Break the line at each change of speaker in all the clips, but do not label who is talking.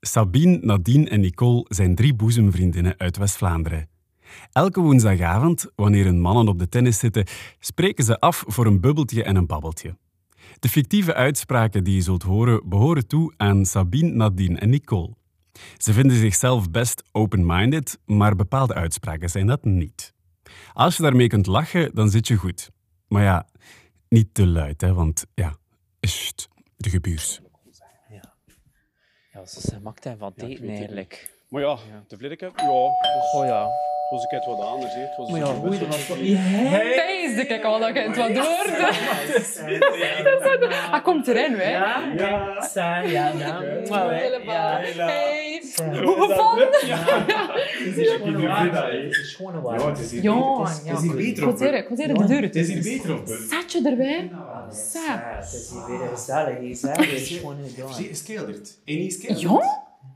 Sabine, Nadine en Nicole zijn drie boezemvriendinnen uit West-Vlaanderen. Elke woensdagavond, wanneer hun mannen op de tennis zitten, spreken ze af voor een bubbeltje en een babbeltje. De fictieve uitspraken die je zult horen behoren toe aan Sabine, Nadine en Nicole. Ze vinden zichzelf best open-minded, maar bepaalde uitspraken zijn dat niet. Als je daarmee kunt lachen, dan zit je goed. Maar ja, niet te luid, hè, want ja, sst, de gebuurs.
Ja, ze zijn maakt hij van
Ja, ik
eten
weet het
eigenlijk.
Maar ja,
Ja.
de vorige keer, ja, het was,
Oh ja.
het was een keer wat anders. hè. Het was een
Maar ja,
soort
hoe
best-
was Hey!
Pees, kijk al dat je het wat door. Hij komt erin, hè?
Ja, ja, Sa, ja, ja. Mwah, hè.
Helemaal.
Ja,
Hey.
Ja.
Hoe gevonden?
Het is gewoon een waarde. Het is gewoon een waarde.
Jongen, ja.
is hier beter op.
Goed eerlijk, goed eerlijk, de deur.
Het is hier beter op. hè.
Zat je erbij?
Sa, Het is hier weer gezellig. hè, Sa. Het is gewoon een
Zie,
waarde.
is kelderd. Eén is kelderd.
Jong?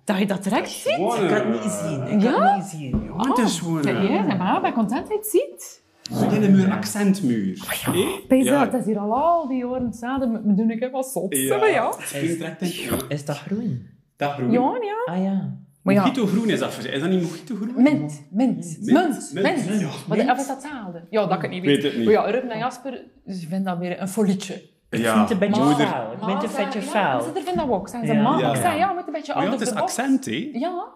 Dat je dat direct ziet?
Ik kan het niet zien. Oh. Ik kan
Ja?
het niet zien.
Ja, het is gewoon...
Ja,
eh,
jij bent maar bij contentheid ziet.
Beginnen muur, accentmuur.
Oh,
Hé?
Pees,
Ja.
dat dat is hier al al die jaren samen met me doen. Ik heb wat zot.
Ja.
Maar ja.
Het springt direct in.
Is dat groen?
Dat groen.
Jongen, ja.
Ah ja.
Maar ja.
Mojito groen is dat. Is dat niet mojito groen?
Mint, mint,
mint,
munt, mint.
ja,
Wat
mint.
of is dat hetzelfde? Ja, dat kan ik niet
Weet
weten.
het niet.
Maar ja, Ruben en Jasper, ze vinden dat weer een folietje.
Ik vind het een beetje
Moeder.
faal. Ik vind het een beetje
Ja,
faal.
ze vinden dat ook. Zijn ze
Ja.
maar.
Ja.
Ik zei, ja, we moeten een beetje
Maar ja,
out
het
of
is
the box.
accent, hè?
Ja.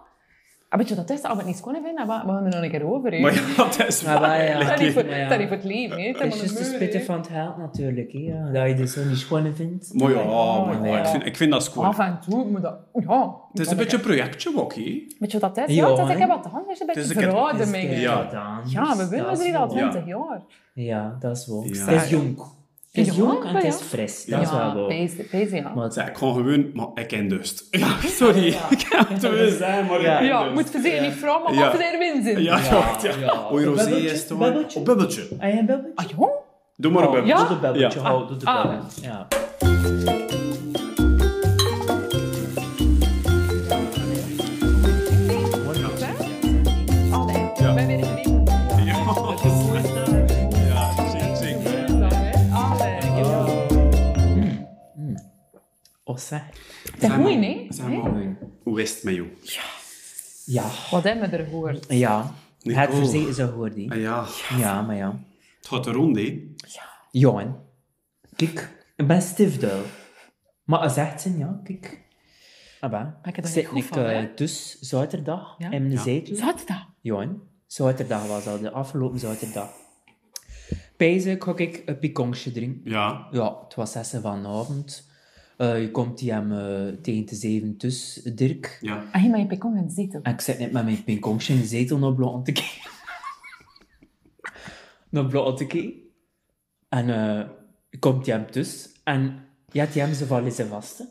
Ah, weet je wat dat is? Als we het niet kunnen vinden, dan gaan we gaan er nog een keer over. hè.
Maar ja, dat is
Maar
waar.
wij, ja.
Dat is niet voor-
Maar ja.
dat is niet voor het leven. hè. Dat
Het
moet
is de
gebeuren,
spitten
hè.
van het geld natuurlijk. Hè. ja. Dat je dit zo niet schoon vindt.
Maar ja, maar ja,
Ja.
ik vind, ik vind dat schoon.
Af en toe moet dat... Ja.
Het is een beetje een projectje, ook, hè?
Weet je wat dat is?
Ja,
Ja, dat is
hè.
een wat anders. Een beetje
een keer-
veroudering.
Dus Ja.
Ja. ja, we willen
er
er hier al
Ja.
20 jaar.
Ja, dat is wel.
Ja.
Het is jong. Het is
Ja,
jong en het is
ja.
fris. Dat is wel wel.
Deze, deze, ja.
Maar
Zeg, ik gewoon gewoon... Maar ik ken dus. Ja, sorry. Ik kan het wel zijn, maar ik
Ja.
ken
Ja,
dus.
moet je zeker niet vragen, maar
Ja.
wat er winst in.
Ja, ja, ja. Oei, rosé
Bubbeltje?
is toch...
Bubbeltje?
Oh, bubbeltje.
Ah, ja, babbeltje?
Ah, jong.
Doe maar een bubbeltje.
Ja?
Doe de babbeltje,
Ah, Ja.
hou, doe de
Ah.
babbeltje. Ja.
Allee, ik ben weer in de
Ja, zing, zing.
Allee.
Oh, zeg.
Dat is
Zeg maar-
goed, nee?
zeg maar, Hoe is het met jou?
Ja.
Wat hebben we er gehoord?
Ja.
Nicole.
Het verzekeren ze hoor die.
Ah ja,
Ja, maar ja.
het gaat er rond, hè?
Jongen. Kijk, ik ben stiefduil. Maar als echt zijn, ja, kijk. Abba.
Ah, ik er niet
Zit
goed
ik
van,
eh,
hè?
dus zaterdag
Ja?
in de zetel.
Zat dat?
Johan, zaterdag was dat, de afgelopen zaterdag. Pijzen ga ik een pikongje drinken.
Ja.
Ja, het was zes vanavond. Eh, je komt die hem eh, tegen te zeven dus, Dirk.
Ja.
Ah, maar je pikong in de zetel.
En ik zit net met mijn pikongje in de zetel naar blauw te kijken. naar blauw te kijken. En eh, je komt die hem dus. En ja, die hem ze vallen ze vast.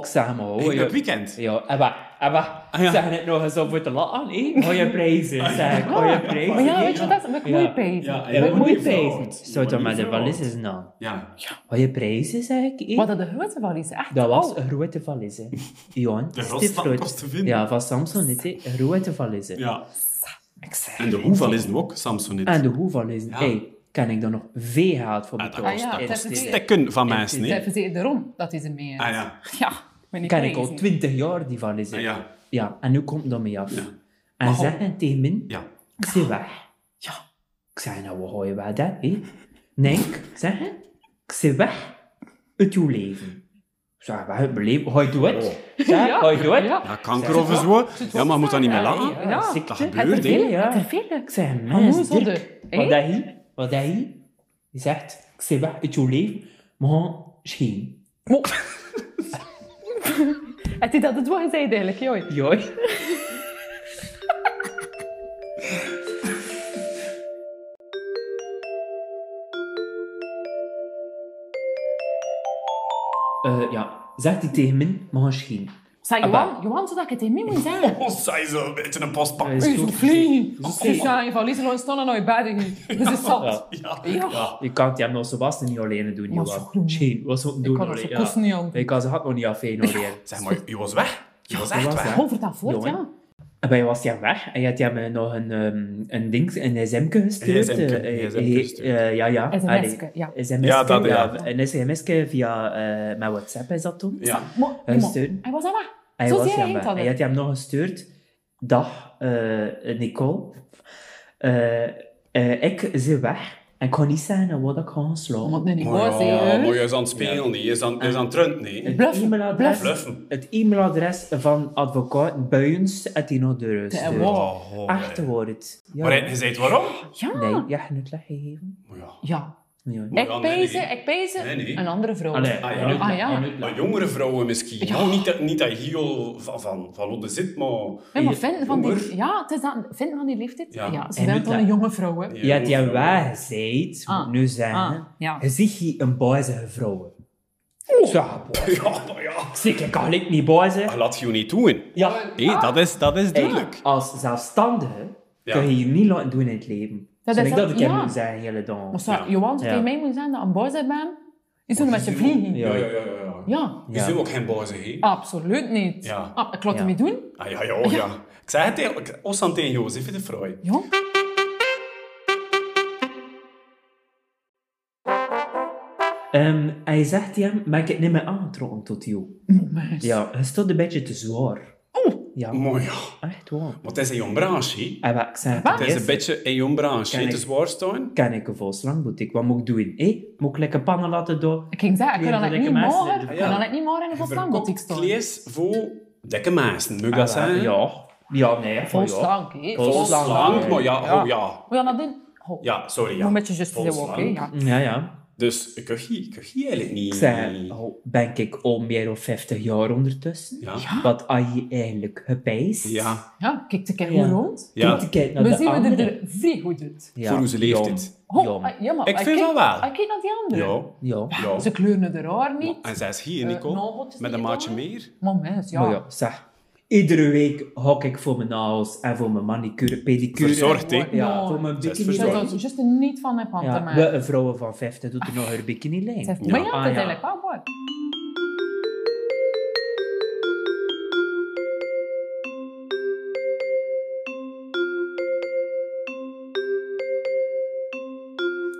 Ik zeg hem, oh,
Hey,
je-
dat weekend.
ja, Ebba, Ebba,
Ah, ja. Ah,
zeg het nog eens op voor te lachen, hè? Hou je prijzen, zeg. Hou je prijzen.
Maar ja, weet je wat dat is? Met
Ja.
koeienpezen.
Ja,
Ja,
ja.
wat moet je
Ja,
prijzen? Zo
wat
dan met
moet
de
je
valises naam.
Ja.
Hou je prijzen, zeg ik. hè?
Wat dat Oh. de grote valies, echt.
Dat was een grote valise. Johan,
De
stief
grootste
groot.
kost te vinden.
Ja, van Samsung niet, hè? Een grote valise.
Ja.
Ik zeg
En de hoeval is hem ook, Samsonit.
En de hoevalise.
Ja.
Hey, kan ik daar nog veel geld voor
Ah, dat
betalen?
kost- Ah, ja, dat is
Is-
het.
Stekken van mensen,
Zij
nee.
verzekeren erom dat hij ze mee heeft.
Ah ja.
Ja, maar niet
Kan ik al
prijzen.
20 jaar die valise.
Ah, ja.
Ja, en nu komt dat mee af.
Ja.
En
Maar oh.
zeggen tegen mij...
Ja.
Ik zei weg. Ja. Ik zei, nou, we gooien wel dat, hè. Nee, ik zeg, ik zei weg uit jouw leven. Ik zei, weg uit mijn leven. Ga je doen het? Zeg,
Ja,
ga je doen het?
Oh. ja.
Ja, kanker of zo. Ja, maar moet dat niet meer lachen?
Ja,
ziekte.
dat
Het
gebeurt, hè.
vervelend,
Ja,
Het vervelend.
vervelend.
Ik zei,
Maar
mens,
hoe zou
Dirk.
de-
Wat
hè?
dat hij, wat dat hij, die zegt, ik zei weg uit jouw leven, maar gewoon scheen.
Mo. Het is dat het wat je zei eigenlijk, joh.
Joi. Eh, ja, zegt hij tegen mij, maar gewoon scheen.
Zeg,
Abba.
Johan, Johan, zodat ik het in mij moet zeggen.
Ons Oh, zij zo een beetje een postpak.
Hij Oh, is
U zo
ook-
vliegen.
Zo
Ze staan in valiezen en staan naar je bedden. Dat is
Ja.
zat.
Ja.
Ja.
Je kan het hem nog Sebastian niet alleen doen,
Maar
Johan.
zo groen.
Scheen, was ook
Ik
doen
kan onze
alleen.
kosten niet aan.
Ik kan ze had nog niet af één alleen.
Zeg maar, je was weg. Je was
Je
echt
was
weg.
weg.
Gewoon vertel voort,
Jongen.
ja.
En bij was hij weg en je had hem eh, nog een, ehm, een ding, een sm'ke gestuurd.
Een sm'ke,
eh, eh,
sm'ke gestuurd.
eh, ja, ja.
SMS'ke, ja.
SMS,
Ja,
ja,
dat, ja.
Een sms'ke via eh, mijn WhatsApp is dat toen.
Ja.
Maar,
Eh,
maar-
steun.
Hij was al weg.
Hij
Zo
was
zei hij
jammer.
het altijd.
Hij had hem nog gestuurd. Dag, eh, Nicole. Eh, eh, ik zit weg. En ik ga niet zeggen wat ik ga gaan slaan.
Moet nu niet
Maar
boos
ja,
zijn, hè?
maar je is aan het spelen, niet. Je is aan, je is aan het runt, niet.
Het
Bluffen,
e-mailadres,
bluffen.
het e-mailadres van advocaat Buijens uit die nog de rust.
Ja, wow.
Oh, oh, hè.
Achterwoord. Ja.
Maar hij- je zei het waarom?
Ja.
Nee, ja, je hebt het leggegeven.
Maar ja.
Ja.
Ja.
Maar
Ik
ja, nee,
pees,
nee.
ik pees
Nee, nee.
een andere vrouw.
Allee,
Ah, ja.
en het-
Ah, ja.
en het-
Maar jongere vrouwen misschien.
Ja.
Nou, niet dat, niet dat Giel van, van, van Lotte zit, maar...
Nee, maar vinden van
Jonger.
die, ja, het is dat, vinden van die leeftijd.
Ja.
Ja, ze
En
zijn
het
toch
la-
een jonge vrouw, hè?
Je
jongere
hebt jou
vrouwen.
waar gezegd, moet
Ah.
ik nu zeggen.
Ah, ja.
Je ziet hier een boizige vrouw.
Oh.
Zo, boy.
Ja, maar ja.
Zeker, ik kan ik niet boizen.
Dat laat je niet doen.
Ja.
Hé, dat is, dat is duidelijk.
Hey, als zelfstandige
Ja.
kun je je niet laten doen in het leven.
Dat
Zodat
is
ik
dat-
dat ik heb
ja.
moet zeggen, hele dag.
Maar zou,
Ja.
Ja.
Johan, tegen mij moet zijn dat een boys bent, is een beetje
Ja.
vliegen. Ja.
Ja.
Ja, ja, ja. ja. Je
Ja.
ziet ook geen boze, hè?
Ah. Absoluut niet.
Ja.
Ah, ik laat
Ja.
hem niet doen.
Ah, ja, ja, ja. Ik oh, zei het tegen... Ossan tegen Jozef de Freude.
Ja. Oh,
Ehm, hij zegt hem, maar ik het niet meer aangetrokken tot jou.
Maar-
Ja, hij stond een beetje te zwaar. Oh! Ja,
Maar ja.
echt waar.
Want het is een jong branche, hè?
En wat ik zei,
Wat?
Het is een beetje een jong branche, hè?
Ken
Het
ik.
is waarstaan.
kan ik een volslangboetik, wat moet ik doen? Hé, moet ik lekker pannen laten doen?
Ik ging zeggen, ik
Ja,
kan
dat
dat niet
ik mensen
morgen,
in de-
ik kan dat niet morgen in de volstangotiek
Verkocht
staan.
vlees voor dikke mensen, moet ik dat
Ah,
zeggen?
Ja. Ja, nee, van ja.
Volstank, hè?
Vol
Volstank.
Slank, maar ja,
Ja.
oh ja.
Hoe gaan dat doen? Ho,
Ja, sorry,
Moet een
ja.
beetje just
Vol
zijn ook, hè?
slank.
Ja.
Ja, ja.
Dus ik kuch je, kuch je eigenlijk niet.
Ik zei, oh, ben ik al meer dan 50 jaar ondertussen?
Ja.
Wat had je eigenlijk gepijst?
Ja,
ja, kijk een keer
Ja.
hoe rond.
ja.
Kijk, kijk naar
We
de
zien we
anderen.
er vrij goed uit.
Ja.
Voor onze leeftijd.
Ho,
Ja.
ah, ja, maar
Ik vind
kijk-
van wel.
ah, kijk naar die anderen.
Ja,
Ja. ja.
ja.
Ze kleuren de haar niet.
En zij is hier,
Eh,
Nico.
nageltjes
Met
die
een
je
maatje
dan-
meer.
Maar mens, ja.
Maar ja, zeg. Iedere week hok ik voor mijn nagels en voor mijn manicure, pedicure.
Verzorgd, hè?
Ja,
Ja.
voor mijn
Zij is
bikini.
Ze
verzorgd.
lijn.
zou er just niet van hebben aan te
Ja,
maken.
we, een vrouw van 50 doet er nog haar bikini
Het
lijn.
heeft- Maar ja,
Ah,
dat
ja.
is eigenlijk wel mooi.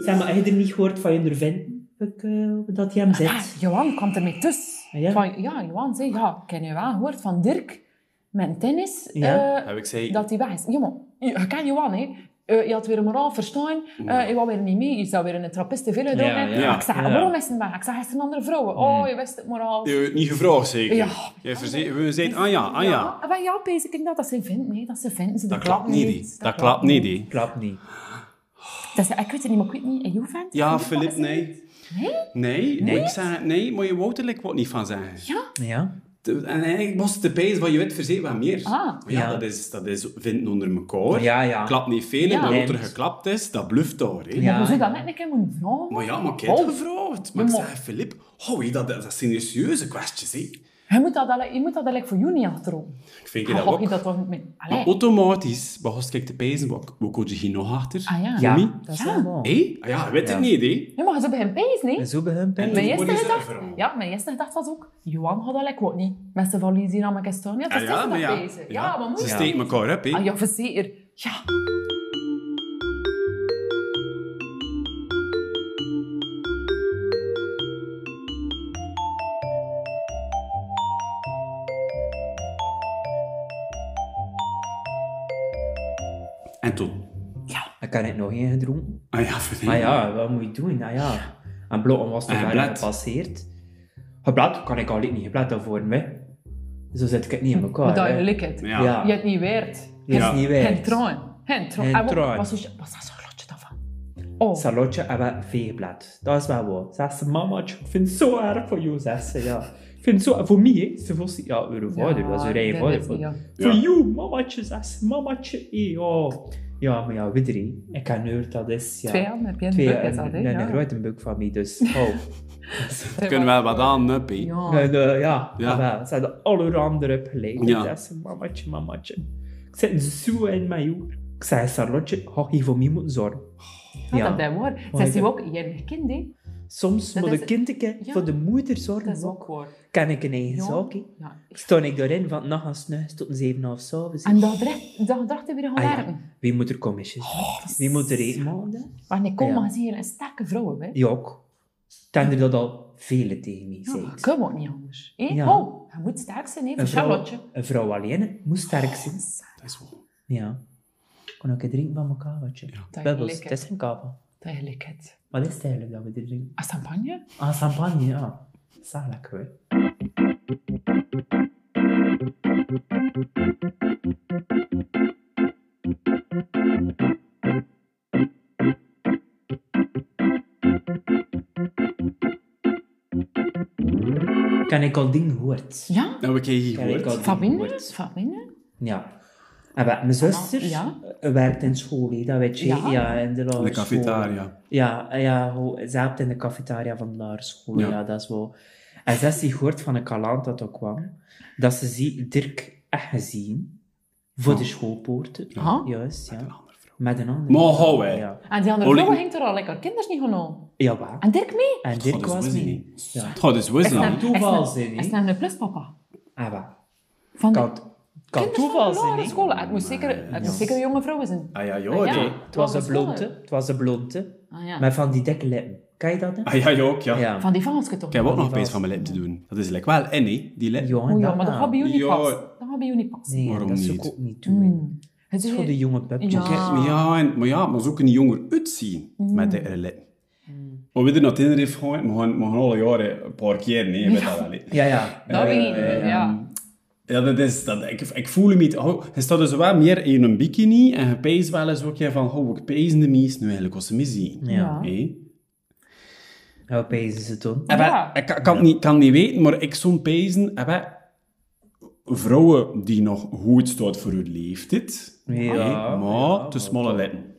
Zeg maar, heb je er niet gehoord van je ondervinding? Ik, eh, dat je hem
Ah,
zet.
Johan kwam ermee tussen.
Ah, ja?
Van, ja, Johan zei, ja, ken je wel gehoord van Dirk, mijn tennis,
Ja.
eh,
Heb ik zei,
dat hij weg is. Ja, maar, je je kent Johan, hè. Eh, je had weer een moraal verstaan, eh, je wou weer niet mee, je zou weer een trappist te veel doen.
Ja, ja.
Ik zei,
Ja.
waarom is hij weg? Ik zei, hij is een andere vrouw. Oh, je wist het moraal.
je hebt het niet gevraagd zeker?
Ja.
Je verze- we zeiden, ah ja, ah ja.
Maar ja, bezig in dat, dat ze vindt, nee, dat ze vindt, ze
Dat klopt niet, hè. dat klopt niet. hè.
Klap niet.
Dat ze, ik weet het niet, maar ik weet niet, en jou vindt?
Ja, Filip, nee. Nee?
Nee?
Nee, ik zei, nee, maar je wou er like wat niet van zeggen.
Ja.
Te- En eigenlijk was het de pijs van je weet verzet wat meer.
Ah.
Maar ja,
Ja.
dat is, dat is vinden onder elkaar.
Ja, ja.
Klapt niet veel,
Ja.
en dan wat er
Nee.
geklapt is, dat bluft daar. Hè.
Ja.
Ja, maar zou dat net een keer moeten vragen?
Maar ja, maar ik heb
Oh.
het gevraagd. Maar ik
Ja, maar-
zei, Filip, hou je dat, dat zijn serieuze kwesties, hè.
Je moet dat, alle- je moet dat eigenlijk voor jou niet achterom.
Ik vind je
Dan
dat
gok Ah, je
ook.
dat toch niet mee.
Maar
Allee.
automatisch, begon ik te pijzen, wat wat kon je hier nog achter?
Ah ja.
Ja,
Tommy?
dat is
Ja.
helemaal.
Hé? Ah ja, weet
Ja.
ik niet, hè.
Ja, maar je zou bij hem pees,
En
niet?
zo bij hun
En
pijn.
Mijn
toen
eerste
worden ze
gedachte,
overal.
ja, mijn eerste gedachte was ook, Johan had dat like wat niet. Met zijn valies hier aan mijn staan. Ja, dat
Ah
is ja, dat
ja.
pezen. Ja, maar moet
Ze
je?
steken elkaar op, hè.
Ah ja, voor zeker. Ja.
En toen...
Ik kan het nog één gedronken.
Ah ja, verdien.
Maar ja, wat moet je doen? Ah ja. En blokken was te
En
ver
Ah, blad.
gepasseerd. Geblad kan ik al niet geblad daarvoor mee. Zo zit ik het niet in elkaar.
Maar dat
hè.
je likt het.
Ja.
Ja.
Je hebt niet weerd.
Ja.
Ja.
Is niet
Geen
weg.
troon. Geen troon.
Geen
Ah, maar-
troon.
Wat is wat is dat zo'n lotje daarvan? Oh,
Salotje en wat veeblad. Dat is wel wat. Ze zei, mama, ik vind het zo erg voor jou, zei ze. Ja. Ik vind het zo voor mij, hè. Ze was, ja, uw vader, dat is uw eigen vader.
dat is niet, ja.
Voor jou, mamatje, zei ze. Mamatje, hé, ja. Ja, maar ja, weet je, ik kan nu dat is, ja.
Twee handen heb je in de
Twee,
buik, is dat, hè?
een, een,
Ja.
een grote buik van mij, dus. Oh.
We kunnen wel wat aan, up, hè.
Ja.
En, eh, ja,
Ja.
jawel. ze hadden alle randen op gelijk.
Ja.
Ja. Ze mamatje, mamatje. Ik zit zo in mijn hoek. Ik zei, Charlotte, ga je Oh, voor mij moeten zorgen.
Ja, dat is waar.
Maar
Zij
ik-
zien ook, jij bent kind, hè?
Soms
Dat
moet
is-
een kind ik, hè,
Ja.
voor de moeder zorgen.
Dat is ook waar.
Kan ik een eigen
Ja.
zaak, hè.
Ja.
Stond ik daarin van nacht aan snuis tot een zeven half s'avonds.
En dat recht, dat dacht hij weer gaan
Ah, ja.
werken.
Wie moet
Oh,
er commissies? Oh, Wie moet er eten maken?
Maar ik kom
Ja.
maar zien, een sterke vrouw, hè?
Ja, ook. Tender dat al vele tegen mij zei.
Ja, kan ook niet anders. hè?
Ja.
Oh, je moet sterk zijn, hè, voor
een, vrouw,
Charlotte.
een vrouw alleen moest sterk
Oh.
zijn.
Dat is wel...
Ja. Kon ook drinken van mijn kavaatje.
Dat je
Bubbles, het
lekker,
is geen kava.
dat je lekker hebt.
Wat is het eigenlijk dat we dit drinken?
Ah, champagne?
Ah, champagne, ja. Zalig hoor. Kan ik al dingen gehoord?
Ja?
Nou, we krijgen hier
Kan ik al
gehoord.
dingen
Fabine?
gehoord?
Fabine?
Ja. En wat, mijn zuster
Ja.
eh, werkt in school, hè, dat weet je.
Ja.
Ja, in de lagere
De
school.
cafetaria.
Ja, eh, ja ho- ze helpt in de cafetaria van de lagere school. Ja.
Ja.
dat is wel. En ze heeft gehoord van een kalant dat ook kwam, dat ze zie, Dirk echt gezien voor de schoolpoorten.
Ah.
Juist,
Een
ja.
andere vrouw.
Met een ander.
Maar hou, hè.
Ja,
En die andere
Olie-
vrouwen ging er al lekker kinders niet genomen.
ja waar.
En Dirk mee?
En
God,
Dirk
Oh, dat
was
wist ik
niet.
niet.
Ja.
God, dat wist ik
kan
niet.
toeval
is
zijn, hè?
Is dat een pluspapa?
Ah, waar.
Van de
Kan, kan
kinderen
toeval
van de
zijn.
lagere
hè.
school. Het moest zeker, het moest zeker een jonge vrouwen zijn.
Ah ja,
Ah,
joh.
ja.
joh.
Het was een
Lagere school,
blonde. Het was een blonde.
Ah, ja.
Met van die dikke lippen. Kan je dat? Hè?
Ah ja, joh, ook, ja.
Ja.
Van die Franske toch?
Ik heb ook nog
die
opeens
was-
van mijn lip te doen. Dat is lekker wel en hè, die lip.
Ja,
Oh ja,
dat-
maar dat gaat bij jullie niet
Ja.
passen. Dat gaat bij jullie niet passen.
Nee,
Waarom
dat zou
niet?
ik ook niet doen. hè.
Mm. Het
Het is
is
voor de jonge pupjes.
Ja.
Kijk, maar ja, en, maar ja, maar ze ook een jonger uitzien
Mm.
met de lip. Maar we doen dat in de gaan, we gaan, we gaan alle jaren een paar keer, nee, je weet dat wel. hè.
Ja, ja.
Dat weet ik niet. Ja.
Ja, dat is, dat, ik, ik voel hem niet. Oh, je staat dus wel meer in een bikini en je pees wel eens ook ja, van, oh, ik pees de mies nu eigenlijk als ze me zien.
Ja.
Hé?
Ja, opeens is het dan.
Eh,
Ja.
wel, Ik kan- kan het niet, kan het niet weten, maar ik zo'n pezen. eh, wel, vrouwen die nog goed staat voor hun leeftijd,
Ja,
hé,
ja,
maar te
maar
smalle
toch.
lippen.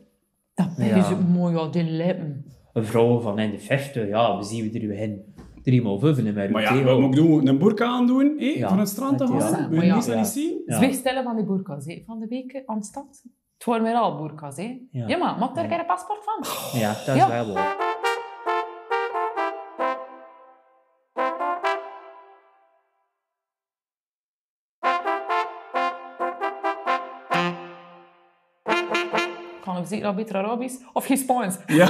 Dat
Ja.
is ook mooi, ja, die lippen.
Een vrouw van in de 50, ja, we zien we er weer in. Drie maal vijf in mijn
Maar ja, wat moet ik doen? Een boerka aandoen? hé,
Ja.
Van het strand te
Ja.
gaan? Wil
Maar
je
ja.
niet dat
Ja.
niet zien?
Ja.
Zwigstellen van die boerkas, hè. Van de week aan de stad. Het waren weer al boerkas, hè.
Ja.
Ja, maar maak daar geen paspoort van.
Ja, dat is
Ja.
wel waar.
Kan ik zeker al beter Arabisch. Of geen Spaans.
Ja.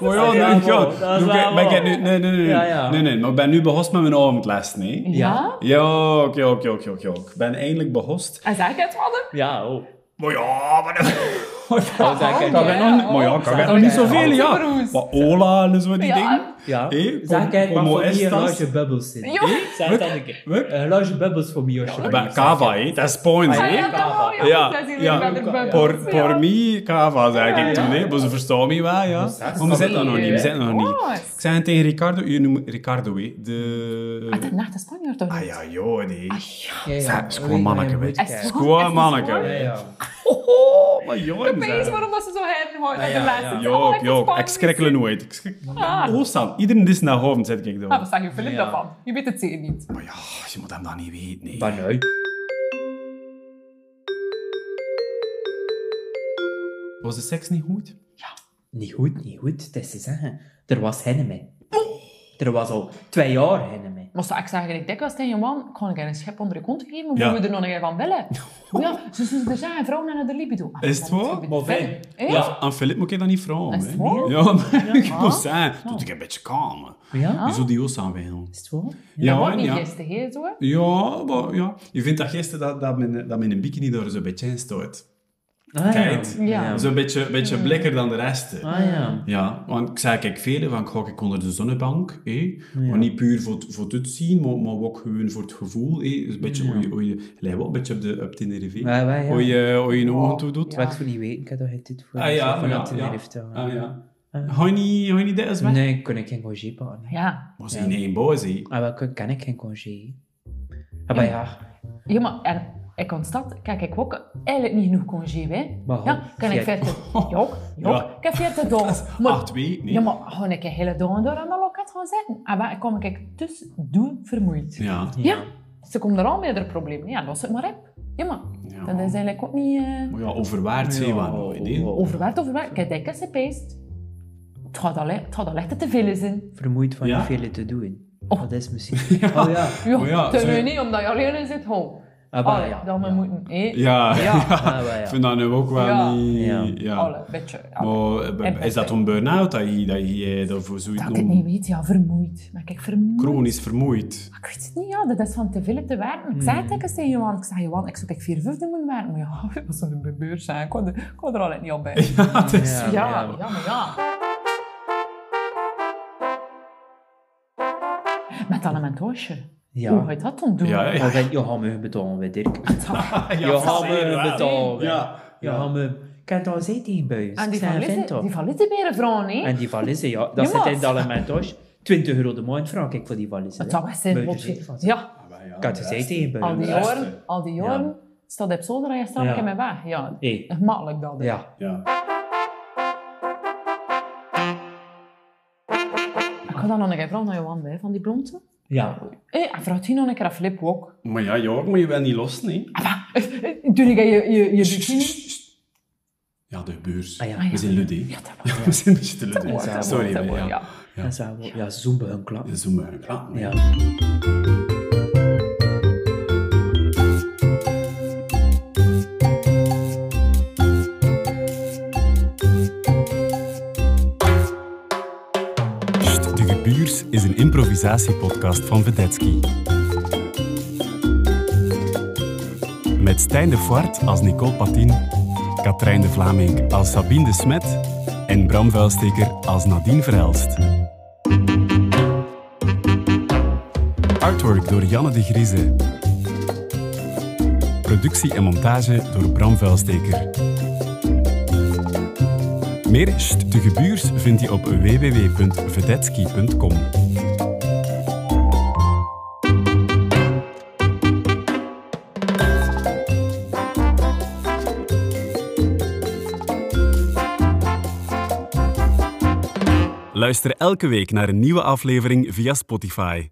Maar ja,
Ja,
nu, ja.
maar, dat is
Doe ik-
wel
maar ik heb
waar.
nu- nee, nee, nee,
Ja, ja.
nee, nee, maar ik ben nu behost met mijn avondles, nee?
Ja?
Ja, oké, oké, oké, oké. oké. Ik ben eindelijk behost.
En zeg ik het, vader?
Ja, oh.
Maar ja, maar
Dat is eigenlijk-
Ah, kan ik nog niet, maar ja, kan ik nog niet zoveel, ja. Maar Ola en zo die
Ja.
dingen.
Ja,
Hé, kom-
zeg kijk maar
kom maar
voor mij een
eens, Frans.
glaasje bubbels in.
Ja.
Zeg dat een keer.
Wuk.
Een glaasje bubbels voor mij,
Ja,
alsjeblieft.
maar Kava, hè? Dat is points,
Ah,
hè?
ja, dat wou je.
Ja,
Dat is hier
ja.
weer met de bubbels.
Por, por
Ja.
mi, Kava, zeg
Ja, ja.
ik toen, hè? Maar ze verstaan mij wel, ja.
zes.
Maar we zitten dat nog niet, we
Ja.
zitten dat nog niet.
Nice.
Ik zei het tegen Ricardo, u noemt Ricardo, hè? De...
Ah, dat nacht de Spanjaard toch
Ah
niet?
ja, joh, nee.
Ja, ja.
Zeg, is gewoon manneke, weet je.
Echt waar?
Is gewoon
Echt
manneke.
waar?
Ja, ja.
Oh, maar joh,
Opeens waarom dat ze zo heen hoort
Ah,
aan
ja,
de laatste.
ja.
Het is allemaal
Joh,
echt
joh, ik
Spaans.
schrik er nooit. Ik schrik...
Ah.
Oostan, iedereen is naar hoofd, zet ik
Ah,
door.
wat zeg je Filip
Ja.
daarvan? Je weet het zeker niet.
Maar ja, je moet hem dat niet weten, nee.
Maar nou,
Was de seks niet goed?
niet goed, niet goed. Het is te zeggen, er was henne mee. Er was al twee jaar henne mee.
Maar zo, ik zeg eigenlijk dikwijls tegen je man, ik ga een keer een schep onder de kont geven, maar
Ja.
moeten we er nog een keer van willen? Oh ja, ze zijn er zijn vrouwen naar de libido. Ah,
Is het
dan
waar?
moet je
Maar
willen.
fijn.
Eh?
Ja, aan Filip moet ik dat niet vragen.
Is
hè.
het waar?
Ja, maar ik
Ah.
moet zeggen, doet ik een beetje kalm.
Ja,
Je zou die Oostan wel.
is het waar?
Dat wordt
en
niet
ja.
gisteren, hè, zo. hè?
Ja, maar ja. Je vindt dat gisteren dat, dat, mijn, dat mijn bikini daar zo'n beetje in stoot.
Ah, ja.
Kijk.
Ja.
Zo'n beetje, beetje blikker dan de rest. hè.
Ah ja.
Ja, want ik zei kijk velen van, ga ik onder de zonnebank, hé. Maar niet puur voor, het- voor het uitzien, maar, maar ook gewoon voor het gevoel, hé. Dus een beetje, hoe je, hoe je, lijkt wel een beetje op de, op Tenerife.
Ja, wij, ja.
Hoe je, hoe je een ogen toe doet.
Wat ik zo niet weet, ik heb toch geen tijd voor.
Ah ja,
van
maar ja,
dat in
ja.
heeft, ja.
Ah ja. Ga je niet, ga je niet dit eens weg?
Nee, kon ik geen congé pakken. hè.
Ja.
Maar ze zijn één boos, hé.
Ah, wel, kon- kan ik geen congé. Ah, maar ja.
Ja, maar en ik constat, kijk, ik heb ook eigenlijk niet genoeg congé, hè.
Maar
Ja, kan ik
veertig.
40... Ja, ook, ja, ook.
Ja.
Ik heb 40 dagen. Maar-
Acht, twee, nee.
Ja, maar gewoon een keer hele dagen door aan de loket gaan zitten. En waar kom ik tussendoor vermoeid. Ja.
Ja,
ze komen er al met haar probleem. Ja, los het maar op. Ja, maar
ja.
dat is eigenlijk ook niet eh
Maar ja, overwaarts, hé, waar nooit, hè.
Oh,
overwerkt, overwerkt. Kijk, dikke ze peest. Het gaat al, het gaat al echt te veel zijn.
Vermoeid van
Ja?
niet veel te doen.
Oh.
Dat is misschien... Oh ja.
Ja,
Maar ja,
te
ze-
weinig, omdat je alleen zit. Ho.
Ah, bah,
Allee,
ja.
dat we
ja.
moeten eten.
Ja,
Ja, ah, wel, ja.
ik vind dat nu ook wel
Ja. Oh,
niet...
Ja.
Ja.
Allee, beetje. ja.
Maar eh,
En-
is dat een burn-out dat je, dat je daarvoor zoiets
Dat ik het niet weet, ja, vermoeid. Maar kijk, vermoeid.
Chronisch vermoeid.
Maar Ik weet het niet, ja, dat is van te veel te werken. Ik zei het ook eens tegen Johan. Ik zei, Johan, ik zou kijk vier vijfde moeten werken. Maar ja, dat zou een beurs zijn. Ik kon er, ik kon er al niet op bij. Ja,
Dat is-
Ja,
ja,
maar ja.
maar ja. Met dan een mentoosje. Hoe ga
Ja.
je dat dan doen?
Ja, ja.
Dan denk je, gaan me betalen, weet ik. Je
Ja,
gaat
zeker
me
wel.
betalen.
Ja.
Je gaat me... Ik heb daar zitten in buis.
En die
Ik zei,
van
vind
Litte-
dat.
die van Litteberen hè?
En die valise, ja. Dat
Ja, maar-
zit in alle mentos. 20 euro de maand vraag ik voor die valise.
Dat was best zijn
Buiten
botje.
zit van-
Ja,
Ah, maar ja,
Ik had
de
gezeten
rest.
in
al die
buis.
beste.
jaren, al die
eh, Ja.
jaren, staat op zolder en je staat
Ja.
ik in mijn weg. Ja, dus.
Hé,
gemakkelijk dat. hè.
ja.
Ja.
Ik ga dan nog een keer vragen naar Johan, hè, van die Eh, blonde.
Ja.
Hé, en vraag die nog een keer aan Flip ook.
Maar ja, Jorg moet je wel niet los, nee.
Eh, Doe ik je, je, je bikini?
Ja, de beurs.
Ah, ja.
Ah, ja.
We zijn ludé.
Ja, dat wordt-
Ja, we zijn een beetje te
dat
ludé.
wordt- dat
Sorry,
wordt-
maar
dat wordt,
ja.
ja.
Ja.
Dat is wel... Ja, zoembe hun klap.
Dat is Ah, een beetje klaar.
Ja.
Pst, De Gebuurs is een improvisatiepodcast van Vedetsky. Met Stijn de Voort als Nicole Patin, Katrijn de Vlaming als Sabine de Smet en Bram Vuilsteker als Nadine Verhelst. Artwork door Janne de Grieze. Productie en montage door Bram Vuilsteker. Meer St. de Gebuurs vind je op www.vedetski.com. Luister elke week naar een nieuwe aflevering via Spotify.